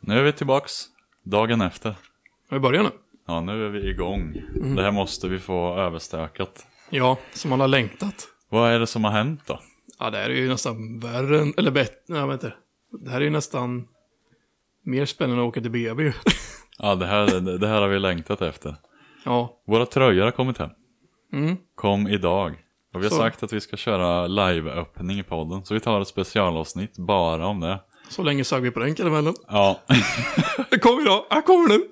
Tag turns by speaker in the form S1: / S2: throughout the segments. S1: Nu är vi tillbaks dagen efter.
S2: Har vi börjat nu?
S1: Ja, nu är vi igång.
S2: Mm.
S1: Det här måste vi få överstökat.
S2: Ja, som alla längtat.
S1: Vad är det som har hänt då?
S2: Ja, det här är ju nästan värre än, eller bättre, nej vänta. Det här är ju nästan mer spännande än att åka till BB ju.
S1: Ja, det här, det- det här har vi längtat efter.
S2: Ja,
S1: Våra tröjor har kommit hem.
S2: Mm.
S1: Kom idag. Och vi har
S2: Så.
S1: sagt att vi ska köra liveöppning i podden. Så vi tar ett specialavsnitt bara om det.
S2: så länge sög vi på den karamellen.
S1: Ja,
S2: Jag kommer idag, jag kommer nu.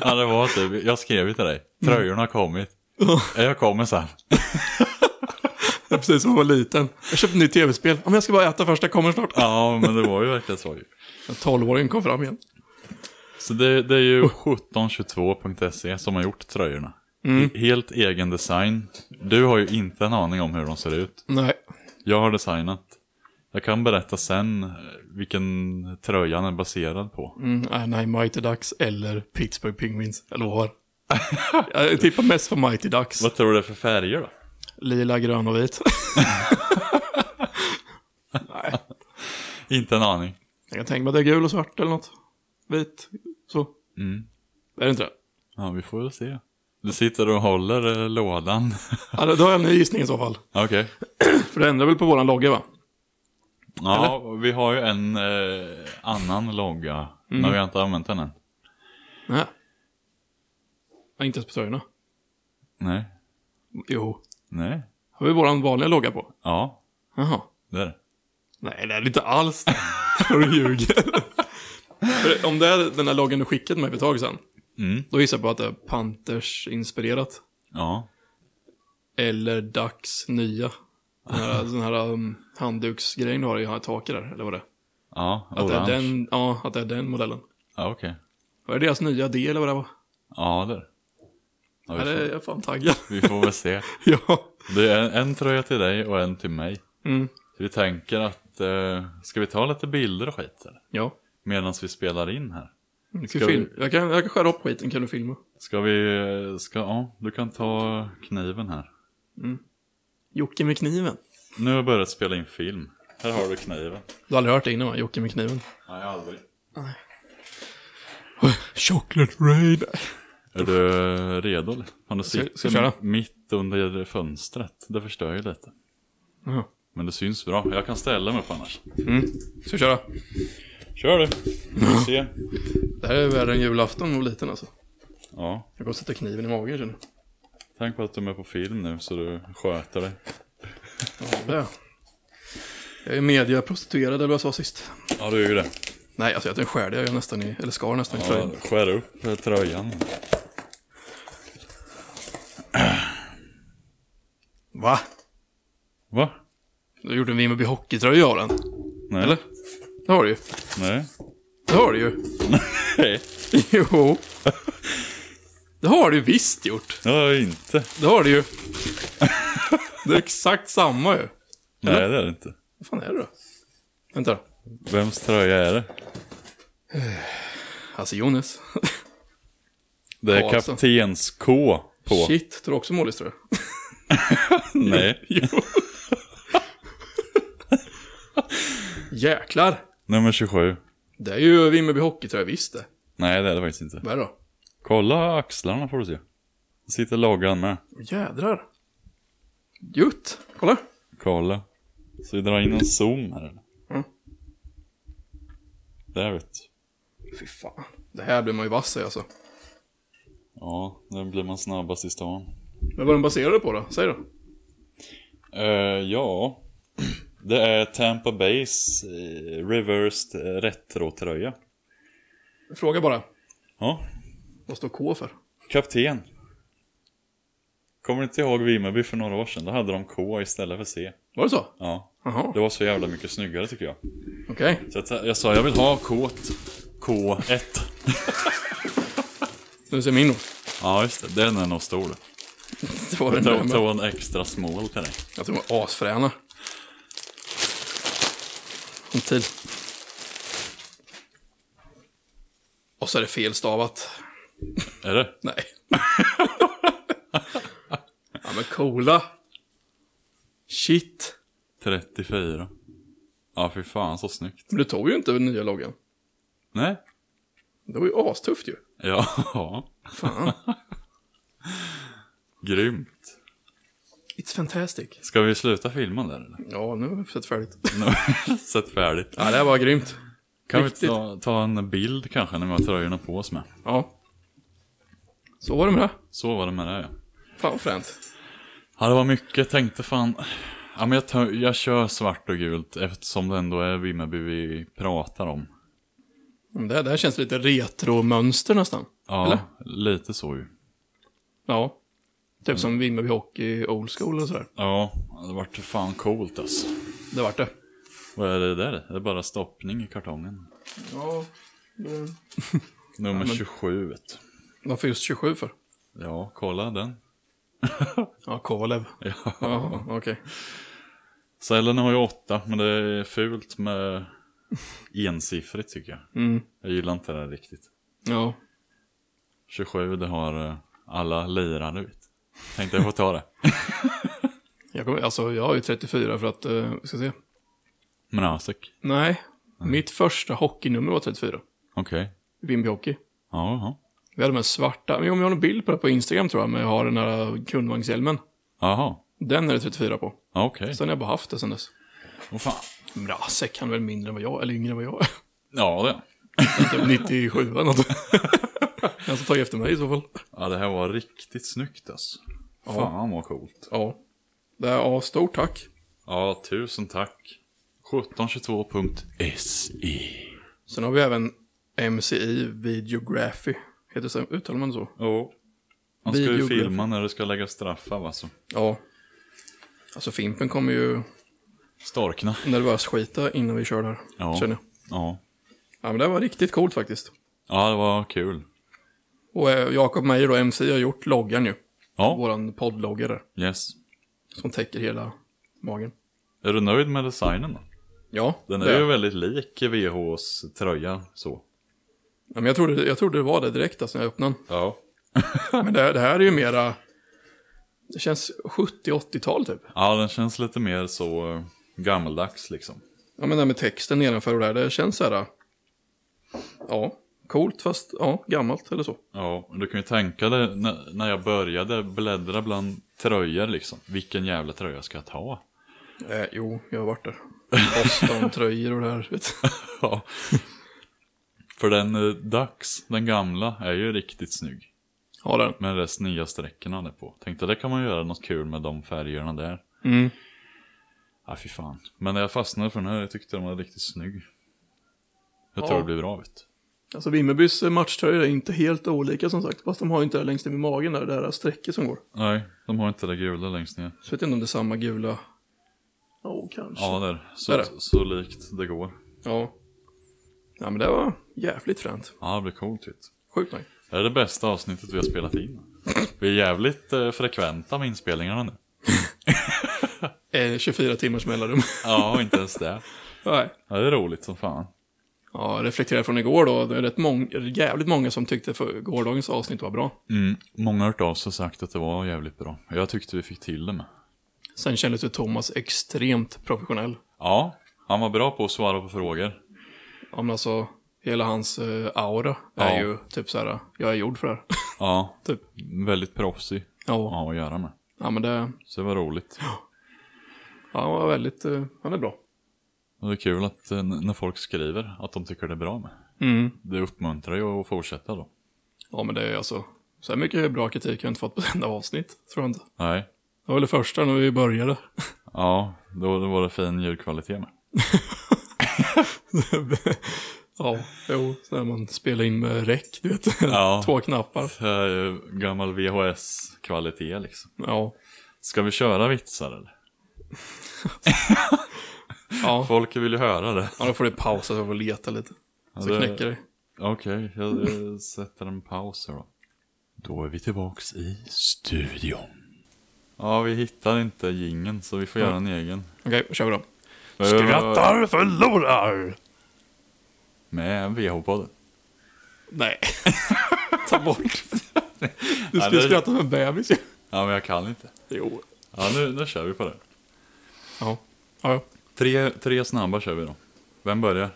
S1: ja det var typ. Jag skrev ju till dig. Tröjorna har kommit.
S2: Mm.
S1: Jag kommer sen.
S2: Det är precis som jag var liten. Jag köpte ett nytt tv-spel. Ja, men jag ska bara äta först, jag kommer snart.
S1: Ja, men det var ju verkligen så ju.
S2: Den 12-åringen kom fram igen.
S1: Så det, det är ju 1722.se som har gjort tröjorna.
S2: Mm.
S1: He- Helt egen design. Du har ju inte en aning om hur de ser ut.
S2: Nej,
S1: Jag har designat. Jag kan berätta sen eh, vilken tröjan är baserad på.
S2: mm, nej, nej, Mighty Ducks eller Pittsburgh Penguins. Jag lovar. Jag tippar mest på Mighty Ducks.
S1: Vad tror du det är för färger då?
S2: Lila, grön och vit. nej,
S1: Inte en aning.
S2: jag kan tänka mig att det är gul och svart eller något. Vit, så.
S1: Mm.
S2: Är det inte det?
S1: Ja, vi får väl se. Du sitter och håller eh, lådan.
S2: Ja, då- då har jag en ny gissning i så fall.
S1: Okej.
S2: För det ändrar väl på våran logga va?
S1: Ja, vi har ju en eh, annan logga.
S2: Mm.
S1: Men vi har inte använt den än.
S2: Nej. Nej, inte ens på tröjorna.
S1: Nej.
S2: Jo.
S1: Nej.
S2: Har vi våran vanliga logga på?
S1: Ja,
S2: Jaha.
S1: det är det.
S2: Nej, det är det inte alls. du ljuger. För om det är den här loggen du skickade mig för ett tag sedan.
S1: Mm.
S2: Då gissar jag på att det är Panthers-inspirerat.
S1: Ja.
S2: Eller Dags nya. Den här, den här um, handduksgrejen du har i här taket där, eller vad det är.
S1: Ja,
S2: Att det är
S1: orange.
S2: den, ja, att det är den modellen.
S1: Ja, okej.
S2: Var det deras nya del eller vad det var?
S1: Ja, det är det. ja,
S2: Ja,
S1: vi,
S2: det är
S1: får,
S2: jag fan taggad.
S1: vi får väl se.
S2: ja.
S1: Det är en, en tröja till dig och en till mig.
S2: Mm.
S1: Vi tänker att, eh, ska vi ta lite bilder och skit eller?
S2: Ja.
S1: Medan vi spelar in här.
S2: Du
S1: Ska
S2: kan Mm, film. Jag, kan, jag kan skära upp skiten, kan du filma?
S1: Ska vi, eh, ska, ja, du kan ta kniven här.
S2: Jocke med kniven.
S1: Nu har jag börjat spela in film. Här har du kniven.
S2: Du har aldrig hört det innan va? Jocke med kniven.
S1: Nej, aldrig.
S2: Chocolate rain.
S1: Är du redo eller? Fan, du
S2: Ska-
S1: sitter
S2: ska jag köra?
S1: mitt under fönstret. Det förstör ju lite.
S2: Jaha.
S1: Men det syns bra. Jag kan ställa mig upp annars.
S2: Ska vi köra?
S1: Kör du! Vi får se.
S2: Det här är värre än julafton och liten alltså.
S1: Ja.
S2: Jag går och sätter kniven i magen känner jag.
S1: Tänk på att du är med på film nu så du sköter dig.
S2: Ja, det är jag. Jag är mediaprostituerad eller vad jag sa sist.
S1: Ja, du är ju det.
S2: Nej, alltså jag den skärde jag ju nästan i, eller skar nästan i
S1: Ja,
S2: tröjan.
S1: skär upp eh, tröjan.
S2: Va?
S1: Va?
S2: Du har gjort en Vimmerby hockeytröja av den.
S1: Nej.
S2: Eller? Det har du ju.
S1: Nej.
S2: Det har du ju.
S1: Nej,
S2: Jo. Det har du visst gjort.
S1: det har jag inte.
S2: Det har du ju. Det är exakt samma ju.
S1: Nej, det är det inte.
S2: Vad fan är det då? Vänta då.
S1: Vems tröja är det?
S2: Alltså Jonas.
S1: Det är
S2: Karlsson.
S1: kaptens K på.
S2: alltså. Shit, tror du också målis tror jag?
S1: Nej.
S2: Jo. Jäklar.
S1: Nummer 27.
S2: Det är ju Vimmerby Hockey tror jag visst det.
S1: Nej, det är det faktiskt inte.
S2: Vad är det då?
S1: Kolla axlarna får du se. Det sitter loggan med.
S2: Åh, Jädrar. Jutt. Kolla.
S1: Kolla. Så vi drar in en zoom här eller?
S2: Mm.
S1: Där vet du.
S2: Fy fan. Det här blir man ju vass i alltså.
S1: Ja, där blir man snabbast i stan.
S2: Men vad är den baserade på då? Säg då.
S1: Eh, ja. Det är Tampa Bays eh, reversed eh, retro-tröja.
S2: Fråga bara.
S1: Ja,
S2: Vad står K för?
S1: kapten. Kommer du inte ihåg Vimmerby för några år sedan? Då hade de K istället för C.
S2: Var det så?
S1: Ja,
S2: Jaha.
S1: det var så jävla mycket snyggare tycker jag.
S2: Okej.
S1: Så jag, ta- jag sa jag vill ha K K1.
S2: Nu ser min då.
S1: Ja, just det. Den är nog stor.
S2: Det var den där
S1: Ta,
S2: med.
S1: ta en extra small till dig.
S2: Jag tror de var asfräna. En till. Och så är det felstavat.
S1: Är det?
S2: Nej. ja men coola. Shit.
S1: 34. Ja, fy fan så snyggt.
S2: Men du tog ju inte den nya loggan.
S1: Nej.
S3: Det var ju astufft ju.
S1: Ja.
S2: Fan.
S1: Grymt.
S2: It's fantastic.
S1: Ska vi sluta filmen där eller?
S2: Ja, nu har vi sett färdigt.
S1: Nu har vi Sett färdigt.
S3: Ja, det här var grymt.
S1: Kan vi
S3: Riktigt.
S1: ta, ta en bild kanske när vi har tröjorna på oss med?
S2: Ja.
S3: Så var det med det.
S1: Så var det med det ja.
S3: Fan vad fränt.
S1: Ja, det var mycket. Jag tänkte fan... Ja, men jag, tar, jag kör svart och gult eftersom det ändå är Vimmerby vi pratar om.
S2: Men Det här, det här känns lite retromönster nästan.
S1: Ja,
S2: Eller?
S1: lite så ju.
S2: Ja. Typ som Vimmerby Hockey Old School och sådär.
S1: Ja, det vart fan coolt alltså.
S2: Det vart det.
S1: Vad är det där? Det är bara stoppning i kartongen.
S2: Ja.
S1: Nummer 27 vet du.
S2: Varför just 27 för?
S1: Ja, kolla den.
S2: Ja, Kalev.
S1: Ja.
S2: Ja, okej.
S1: Cellen har ju åtta, men det är fult med ensiffrigt tycker jag.
S2: Mm.
S1: Jag gillar inte det här riktigt.
S2: Ja.
S1: 27, det har eh, alla lirare ut. Tänkte jag får ta det.
S2: Jag, kommer, alltså, jag har ju 34 för att, eh, ska se.
S1: Mnasek.
S2: Nej, mitt första hockeynummer var 34.
S1: Okej.
S2: Vimmerby Hockey.
S1: Jaha.
S2: Vi hade de här svarta, men jo, men jag har en bild på det på Instagram tror jag, men jag har den här kundvagnshjälmen.
S1: Jaha.
S2: Den är det 34 på.
S1: Okej.
S2: Sen har jag bara haft det sen dess.
S1: Åh fan.
S2: Mrasek, han är väl mindre än vad jag, eller yngre än vad jag är.
S1: Ja, det.
S2: Typ 97 eller något. Han som tagit efter mig i så fall.
S1: Ja, det här var riktigt snyggt alltså. Fan vad coolt.
S2: Ja. Det är, ja, stort tack.
S1: Ja, tusen tack. 1722.se.
S2: Sen har vi även MCI Videography. Heter det så? Uttalar man det så?
S1: Jo. Man ska ju
S2: Videografi.
S1: filma när det ska lägga straffar va, så.
S2: Ja. Alltså Fimpen kommer ju
S1: Storkna.
S2: nervös skita innan vi kör där.
S1: Ja.
S2: Känner jag.
S1: Ja.
S2: Ja, men det var riktigt coolt faktiskt.
S1: Ja, det var kul.
S2: Och eh, Jakob Meijer då, MCI, har gjort loggan ju.
S1: Ja,
S2: Våran poddlogga där.
S1: yes.
S2: Som täcker hela magen.
S1: Är du nöjd med designen då?
S2: Ja,
S1: Den
S2: det
S1: är ju väldigt lik VHs tröja så.
S2: Ja, men jag, trodde, jag trodde det var det direkt alltså, när jag öppnade den.
S1: Ja.
S2: Men det, det här är ju mera... Det känns 70-80-tal typ.
S1: Ja, den känns lite mer så eh, gammaldags liksom.
S2: Ja, men det här med texten nedanför och där, det känns så här... äh, Ja, coolt fast ja, gammalt eller så.
S1: Ja, och du kan ju tänka dig när- när jag började bläddra bland tröjor liksom. Vilken jävla tröja ska jag ta?
S2: Eh, jo, jag har varit där. Boston-tröjor och det här. Vet. du.
S1: Ja. För den eh, Dax, den gamla, är ju riktigt snygg.
S2: Ja, den.
S1: Med de sneda strecken han är på. Tänkte det kan man göra något kul med de färgerna där.
S2: Mm.
S1: Ja, fy fan. Men jag fastnade för den här, jag tyckte den var riktigt snygg. Jag
S2: Ja.
S1: tror det blir bra vet du.
S2: Alltså Vimmerbys matchtröjor är inte helt olika som sagt. Fast de har ju inte det här längst ner vid magen där, det här strecket som går.
S1: Nej, de har inte det gula längst ner.
S2: Så vet jag inte om det är samma gula... Ja, kanske.
S1: Ja, där. Så,
S2: Där är det.
S1: så likt det går.
S2: Ja. Ja, men det var jävligt fränt.
S1: Ja, det blir coolt vet du.
S2: Sjukt nöjd.
S1: Det är det bästa avsnittet vi har spelat in. Vi är jävligt eh, frekventa med inspelningarna nu.
S2: Eh, 24 timmars mellanrum.
S1: Ja, inte ens det.
S2: Nej.
S1: Ja, det är roligt som fan.
S2: Ja, reflektera från igår då. Det är rätt mång- jävligt många som tyckte för gårdagens avsnitt var bra.
S1: Mm. Många har hört av sig och sagt att det var jävligt bra. Jag tyckte vi fick till det med.
S2: Sen kändes ju Thomas extremt professionell.
S1: Ja, han var bra på att svara på frågor.
S2: Ja, men alltså, hela hans eh, aura är
S1: Ja.
S2: ju typ så här, jag är gjord för det här.
S1: Ja,
S2: typ.
S1: väldigt proffsig
S2: Ja.
S1: ja, att göra med.
S2: ja, men det,
S1: Så det var roligt.
S2: ja, han var väldigt, eh, han är bra.
S1: Och det är kul att eh, n- när folk skriver att de tycker det är bra med.
S2: Mm.
S1: Det uppmuntrar ju att fortsätta då.
S2: Ja, men det är alltså, så här mycket bra kritik har jag inte fått på ett enda avsnitt, tror jag inte.
S1: Nej,
S2: Det var väl det första när vi började.
S1: ja, då, då var det fin ljudkvalitet med.
S2: ja, jo, så när man spelar in med räck, du vet.
S1: Ja.
S2: Två knappar.
S1: Det här är ju Gammal VHS-kvalitet liksom.
S2: Ja.
S1: Ska vi köra vitsar eller?
S2: Ja.
S1: Folk vill ju höra det.
S2: Ja, då får du pausa så jag får leta lite. Så
S1: det-
S2: knäcker det.
S1: Okej, jag, jag sätter en paus här då. Då är vi tillbaks i studion. Ja, vi hittar inte gingen så vi får göra en egen.
S2: Okej, då kör vi då.
S3: förlorar!
S1: Med VH-podden.
S2: Nej. Ta bort. Du
S1: Ja,
S2: skulle
S1: det-
S2: skratta som en bebis ju.
S1: Ja, men jag kan inte.
S2: Jo.
S1: Ja, nu, nu kör vi på det.
S2: Ja. Ja, ja.
S1: Tre, tre snabba kör vi då. Vem börjar?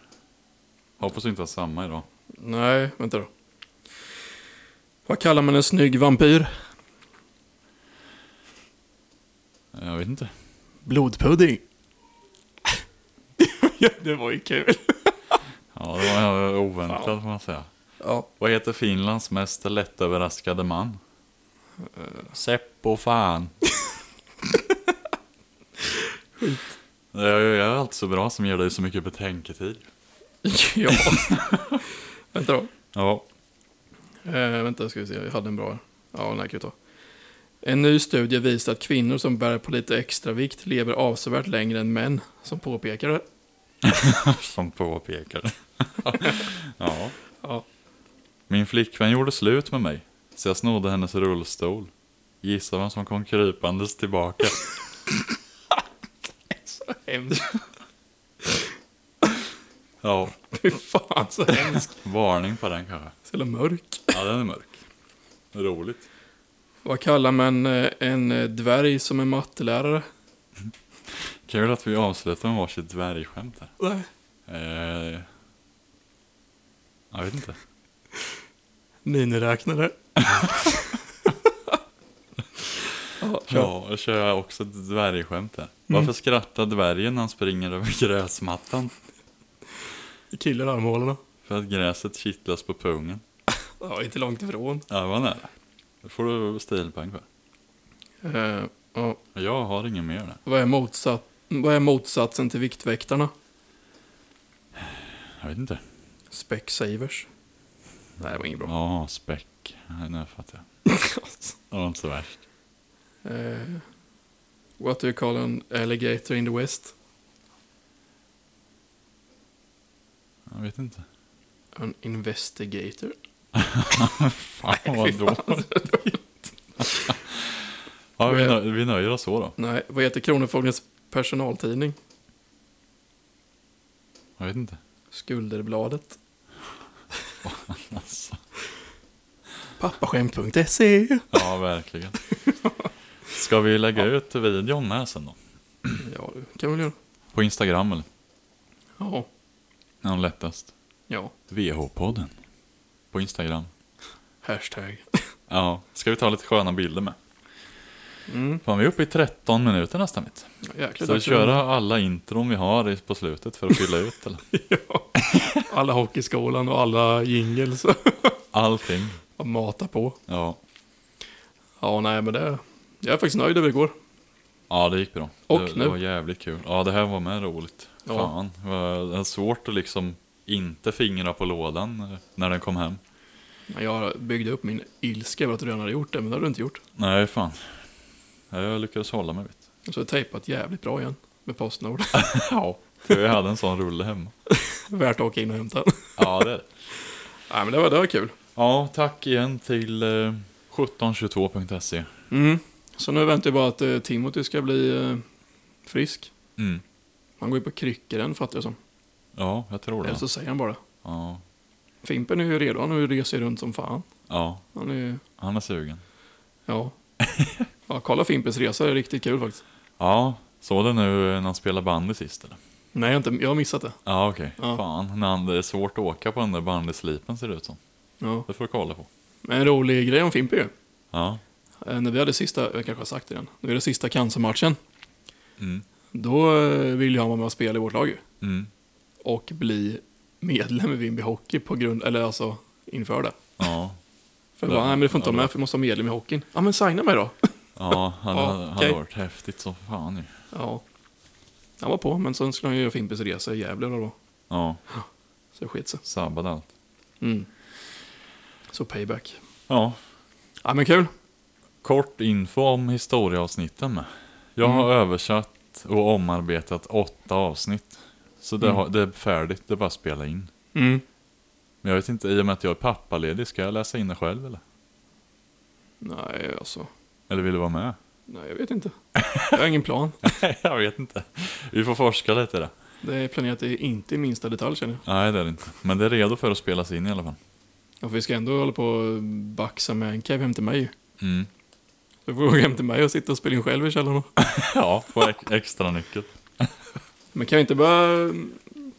S1: Hoppas vi inte har samma idag.
S2: Nej, vänta då. Vad kallar man en snygg vampyr?
S1: Jag vet inte.
S2: Blodpudding. Ja, det var ju kul.
S1: Ja, det var eh, oväntat får man säga.
S2: Ja.
S1: Vad heter Finlands mest lättöverraskade man?
S2: Eh.
S1: Seppo fan. Jag jag är allt så bra som ger dig så mycket betänketid.
S2: ja. vänta då.
S1: Ja.
S2: Eh, vänta, ska vi se. Jag hade en bra. Ja, den här kan vi ta. En ny studie visar att kvinnor som bär på lite extra vikt lever avsevärt längre än män som påpekar det.
S1: Som påpekar. ja.
S2: Ja.
S1: Min flickvän gjorde slut med mig, så jag snodde hennes rullstol. Gissa vem som kom krypandes tillbaka.
S2: Så hemskt.
S1: Ja,
S2: Fy fan, så hemskt.
S1: varning på den kanske.
S2: Så jävla mörk.
S1: Ja, den är mörk. Roligt.
S2: Vad kallar man eh, en eh, dvärg som är mattelärare?
S1: Kul att vi avslutar med varsitt dvärgskämt här.
S2: Nej.
S1: Eh, jag vet inte.
S2: Miniräknare. ja, ja.
S1: Ja, jag kör också ett dvärgskämt här. Varför skrattar dvärgen när han springer över gräsmattan?
S2: Killar armhålorna.
S1: För att gräset kittlas på pungen.
S2: Ja, inte långt ifrån.
S1: Ja, vad nära. Det får du stilpoäng för.
S2: Eh, ja.
S1: Jag har ingen mer där.
S2: vad, är motsat, vad är motsatsen till Viktväktarna?
S1: Jag vet inte.
S2: Specsavers. Nej, det var inget bra.
S1: Ja, späck. Nej, Nu fattar jag. Det var inte så värst.
S2: Eh, what do you call an alligator in the West?
S1: Jag vet inte.
S2: An investigator.
S1: Fan vad dåligt. ja, vi, nö- vi nöjer oss så då.
S2: Nej, vad heter Kronofogdens personaltidning?
S1: Jag vet inte.
S2: Skulderbladet.
S1: Alltså.
S2: Pappaskämt.se.
S1: Ja, verkligen. Ska vi lägga ut videon med sen då?
S2: Ja, det kan vi väl göra.
S1: På Instagram eller?
S2: Ja,
S1: Ja, lättast.
S2: ja.
S1: VH-podden. På Instagram.
S2: Hashtag.
S1: Ja, ska vi ta lite sköna bilder med.
S2: Mm.
S1: Fan, vi är uppe i 13 minuter nästan. Mitt.
S2: Jäklar,
S1: Ska vi köra alla intron vi har i- på slutet för att fylla ut? Eller?
S2: Alla hockeyskolan och alla jingles.
S1: Allting.
S2: Och mata på.
S1: Ja.
S2: Ja, nej, men det... Jag är faktiskt nöjd över igår.
S1: ja, det gick bra.
S2: Och
S1: det,
S2: nu?
S1: det var jävligt kul. Ja, det här var med roligt.
S2: Ja.
S1: Fan, det var det var svårt att liksom inte fingra på lådan eh, när den kom hem.
S2: Jag byggde upp min ilska över att du redan hade gjort det, men det har du inte gjort.
S1: Nej, fan. Ja, Jag lyckades hålla mig. Vet.
S2: Så jag har tejpat jävligt bra igen. Med Postnord.
S1: Ja. Jag hade en sån rulle hemma.
S2: Värt att åka in och hämta den.
S1: Ja, det är det.
S2: Nej, men det var, det var kul.
S1: Ja, tack igen till eh, 1722.se.
S2: Mm. Så nu väntar jag bara att eh, Timothy ska bli eh, frisk.
S1: Mm.
S2: Han går ju på kryckor än, fattar jag som.
S1: Ja, jag tror
S2: Eller
S1: det.
S2: så säger han bara.
S1: Ja.
S2: Fimpen är ju redo, han har ju reser runt som fan.
S1: ja.
S2: Han är ju...
S1: Han är sugen.
S2: Ja. ja, kolla Fimpens resa, det är riktigt kul faktiskt.
S1: Ja, såg du nu när han spelade bandy sist eller?
S2: Nej, jag har, inte, jag har missat det.
S1: Ja, okej.
S2: Ja.
S1: Fan, när han, det är svårt att åka på den där bandyslipen ser det ut som.
S2: Ja.
S1: Det får du kolla på.
S2: Men en rolig grej om Fimpen ju.
S1: Ja.
S2: Eh, När vi hade sista, jag kanske har sagt det redan, nu är det sista cancermatchen.
S1: Mm.
S2: Då eh, vill ju han vara med och spela i vårt lag ju.
S1: Mm.
S2: Och bli medlem i Vimby Hockey på grund, eller alltså inför det.
S1: Ja.
S2: För jag
S1: Ja,
S2: bara, nej men det får inte
S1: ja,
S2: vara
S1: bra.
S2: med för vi måste ha medlem i hockeyn. Ja men signa mig då.
S1: Ja, han
S2: Ja,
S1: hade
S2: okej.
S1: hade varit häftigt som fan ju.
S2: Ja. Han var på, men sen skulle han ju göra Fimpens resa i Gävle då. då.
S1: Ja,
S2: Så det sket sig.
S1: sabbade allt.
S2: Mm. Så payback.
S1: Ja,
S2: Ja men kul.
S1: kort info om historieavsnitten med. Jag har översatt och omarbetat åtta avsnitt. Så det,
S2: Mm.
S1: har, det är färdigt, det är bara att spela in.
S2: Mm.
S1: Men jag vet inte, i och med att jag är pappaledig, ska jag läsa in det själv eller?
S2: Nej alltså.
S1: Eller vill du vara med?
S2: Nej jag vet inte. Jag har ingen plan.
S1: jag vet inte. Vi får forska lite där.
S2: Det är planerat i- inte i minsta detalj känner jag.
S1: Nej, det är det inte. Men det är redo för att spelas in i alla fall.
S2: Ja, för vi ska ändå hålla på och baxa med en cab hem till mig ju.
S1: Mm.
S2: Så får du åka hem till mig och sitta och spela in själv i källaren. då.
S1: Ja, på ex- extra nyckel.
S2: Men kan vi inte bara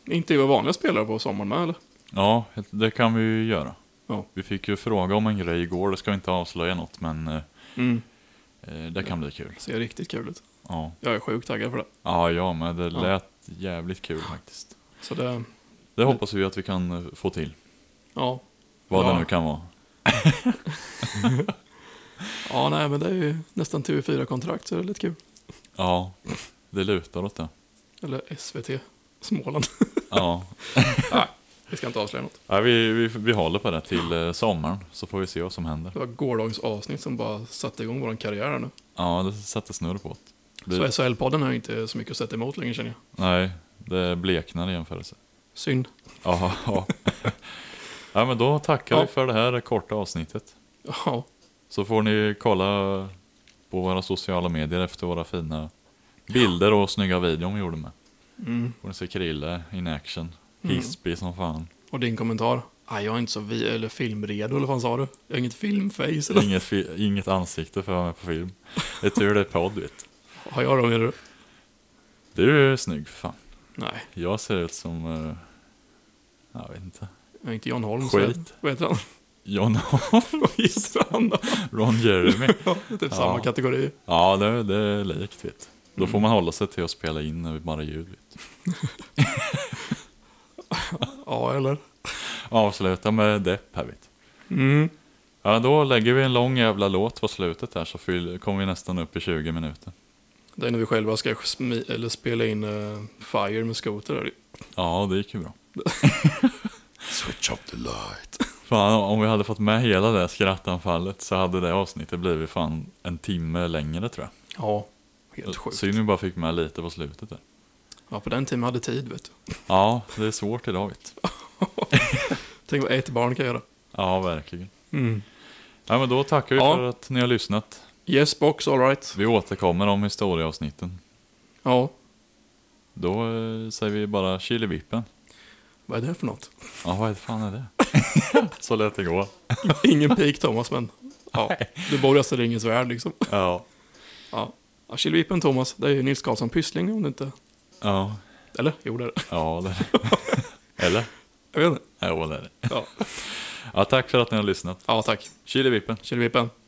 S2: Intervjua vanliga spelare på sommaren med eller?
S1: Ja, det kan vi ju göra.
S2: Ja.
S1: Vi fick ju fråga om en grej igår, det ska vi inte avslöja något, men eh,
S2: Mm.
S1: eh, det kan bli kul.
S2: Ser riktigt kul ut.
S1: Ja,
S2: Jag är sjukt taggad för det.
S1: ja, ah, ja men det
S2: Ja.
S1: lät jävligt kul faktiskt.
S2: Så det,
S1: Det hoppas vi att vi kan eh, få till,
S2: ja.
S1: vad
S2: Ja.
S1: det nu kan vara.
S2: Ja, nej men det är ju nästan TV4-kontrakt så det är lite kul.
S1: Ja, det lutar åt det.
S2: Eller SVT, Småland.
S1: Ja,
S2: Vi ska inte avslöja något.
S1: Nej, vi, vi, vi håller på det till eh, sommaren, så får vi se vad som händer.
S2: Det var gårdagens avsnitt som bara satte igång vår karriär här nu.
S1: Ja, det sätter snurr på det.
S2: Så
S1: det.
S2: SHL-podden har ju inte så mycket att sätta emot längre känner jag.
S1: Nej, det bleknar i jämförelse.
S2: Synd.
S1: Ja, ja. ja men då tackar
S2: Ja.
S1: vi för det här korta avsnittet.
S2: Ja,
S1: Så får ni kolla på våra sociala medier efter våra fina bilder och snygga videon vi gjorde med.
S2: Mm.
S1: Får ni se Krille in action. Hispig som fan.
S2: och din kommentar? Nej, jag är inte så vi eller filmredo, eller vad fan sa du? Jag har inget filmface, eller?
S1: Inget, fi- inget ansikte för att vara med på film. Det är tur det är podd vet
S2: Har jag då, menar du?
S1: du. Du är snygg för fan.
S2: Nej,
S1: Jag ser ut som... eh, jag vet inte.
S2: jag är inte Jan Holm.
S1: Skit.
S2: Så, vad heter han?
S1: John
S2: vad heter han då?
S1: Ron Jeremy.
S2: Ja, typ samma kategori.
S1: Ja, det, det är likt vet du.
S3: Mm.
S1: Då får man hålla sig till att spela in eh, bara ljud. Vet du.
S2: Ja, eller?
S1: Avsluta med depp här vet du.
S2: Mm.
S1: Ja, då lägger vi en lång jävla låt på slutet här så fyll, kommer vi nästan upp i 20 minuter.
S2: Det är när vi själva ska smi- eller spela in eh, Fire med skoter. där.
S1: Ja, det gick ju bra.
S3: Switch up the light.
S1: Fan, om vi hade fått med hela det här skrattanfallet så hade det avsnittet blivit fan en timme längre tror jag.
S2: Ja, helt sjukt.
S1: Synd vi bara fick med lite på slutet där.
S2: Ja, på den tiden hade tid, vet du.
S1: Ja, det är svårt idag vet du.
S2: Tänk vad ett barn kan göra.
S1: Ja, verkligen.
S2: Mm.
S1: Ja, men då tackar vi
S2: Ja.
S1: för att ni har lyssnat.
S2: Yes, box, all right.
S1: Vi återkommer om historieavsnitten.
S2: Ja,
S1: Då eh, säger vi bara chilivippen.
S2: vad är det för något?
S1: Ja, vad fan är det? Så lät det gå.
S2: Ingen pik Thomas, men ja, du bor i Österringens värld liksom.
S1: Ja.
S2: Ja, ja Killvippen Thomas, det är ju Nils Karlsson Pyssling om du inte...
S1: Ja,
S2: Eller? Jo, det är det.
S1: ja det Eller?
S2: Jag vet inte.
S1: Jo, det är det.
S2: Ja,
S1: Ja, tack för att ni har lyssnat.
S2: ja tack.
S1: Chilivippen.
S2: Killvippen.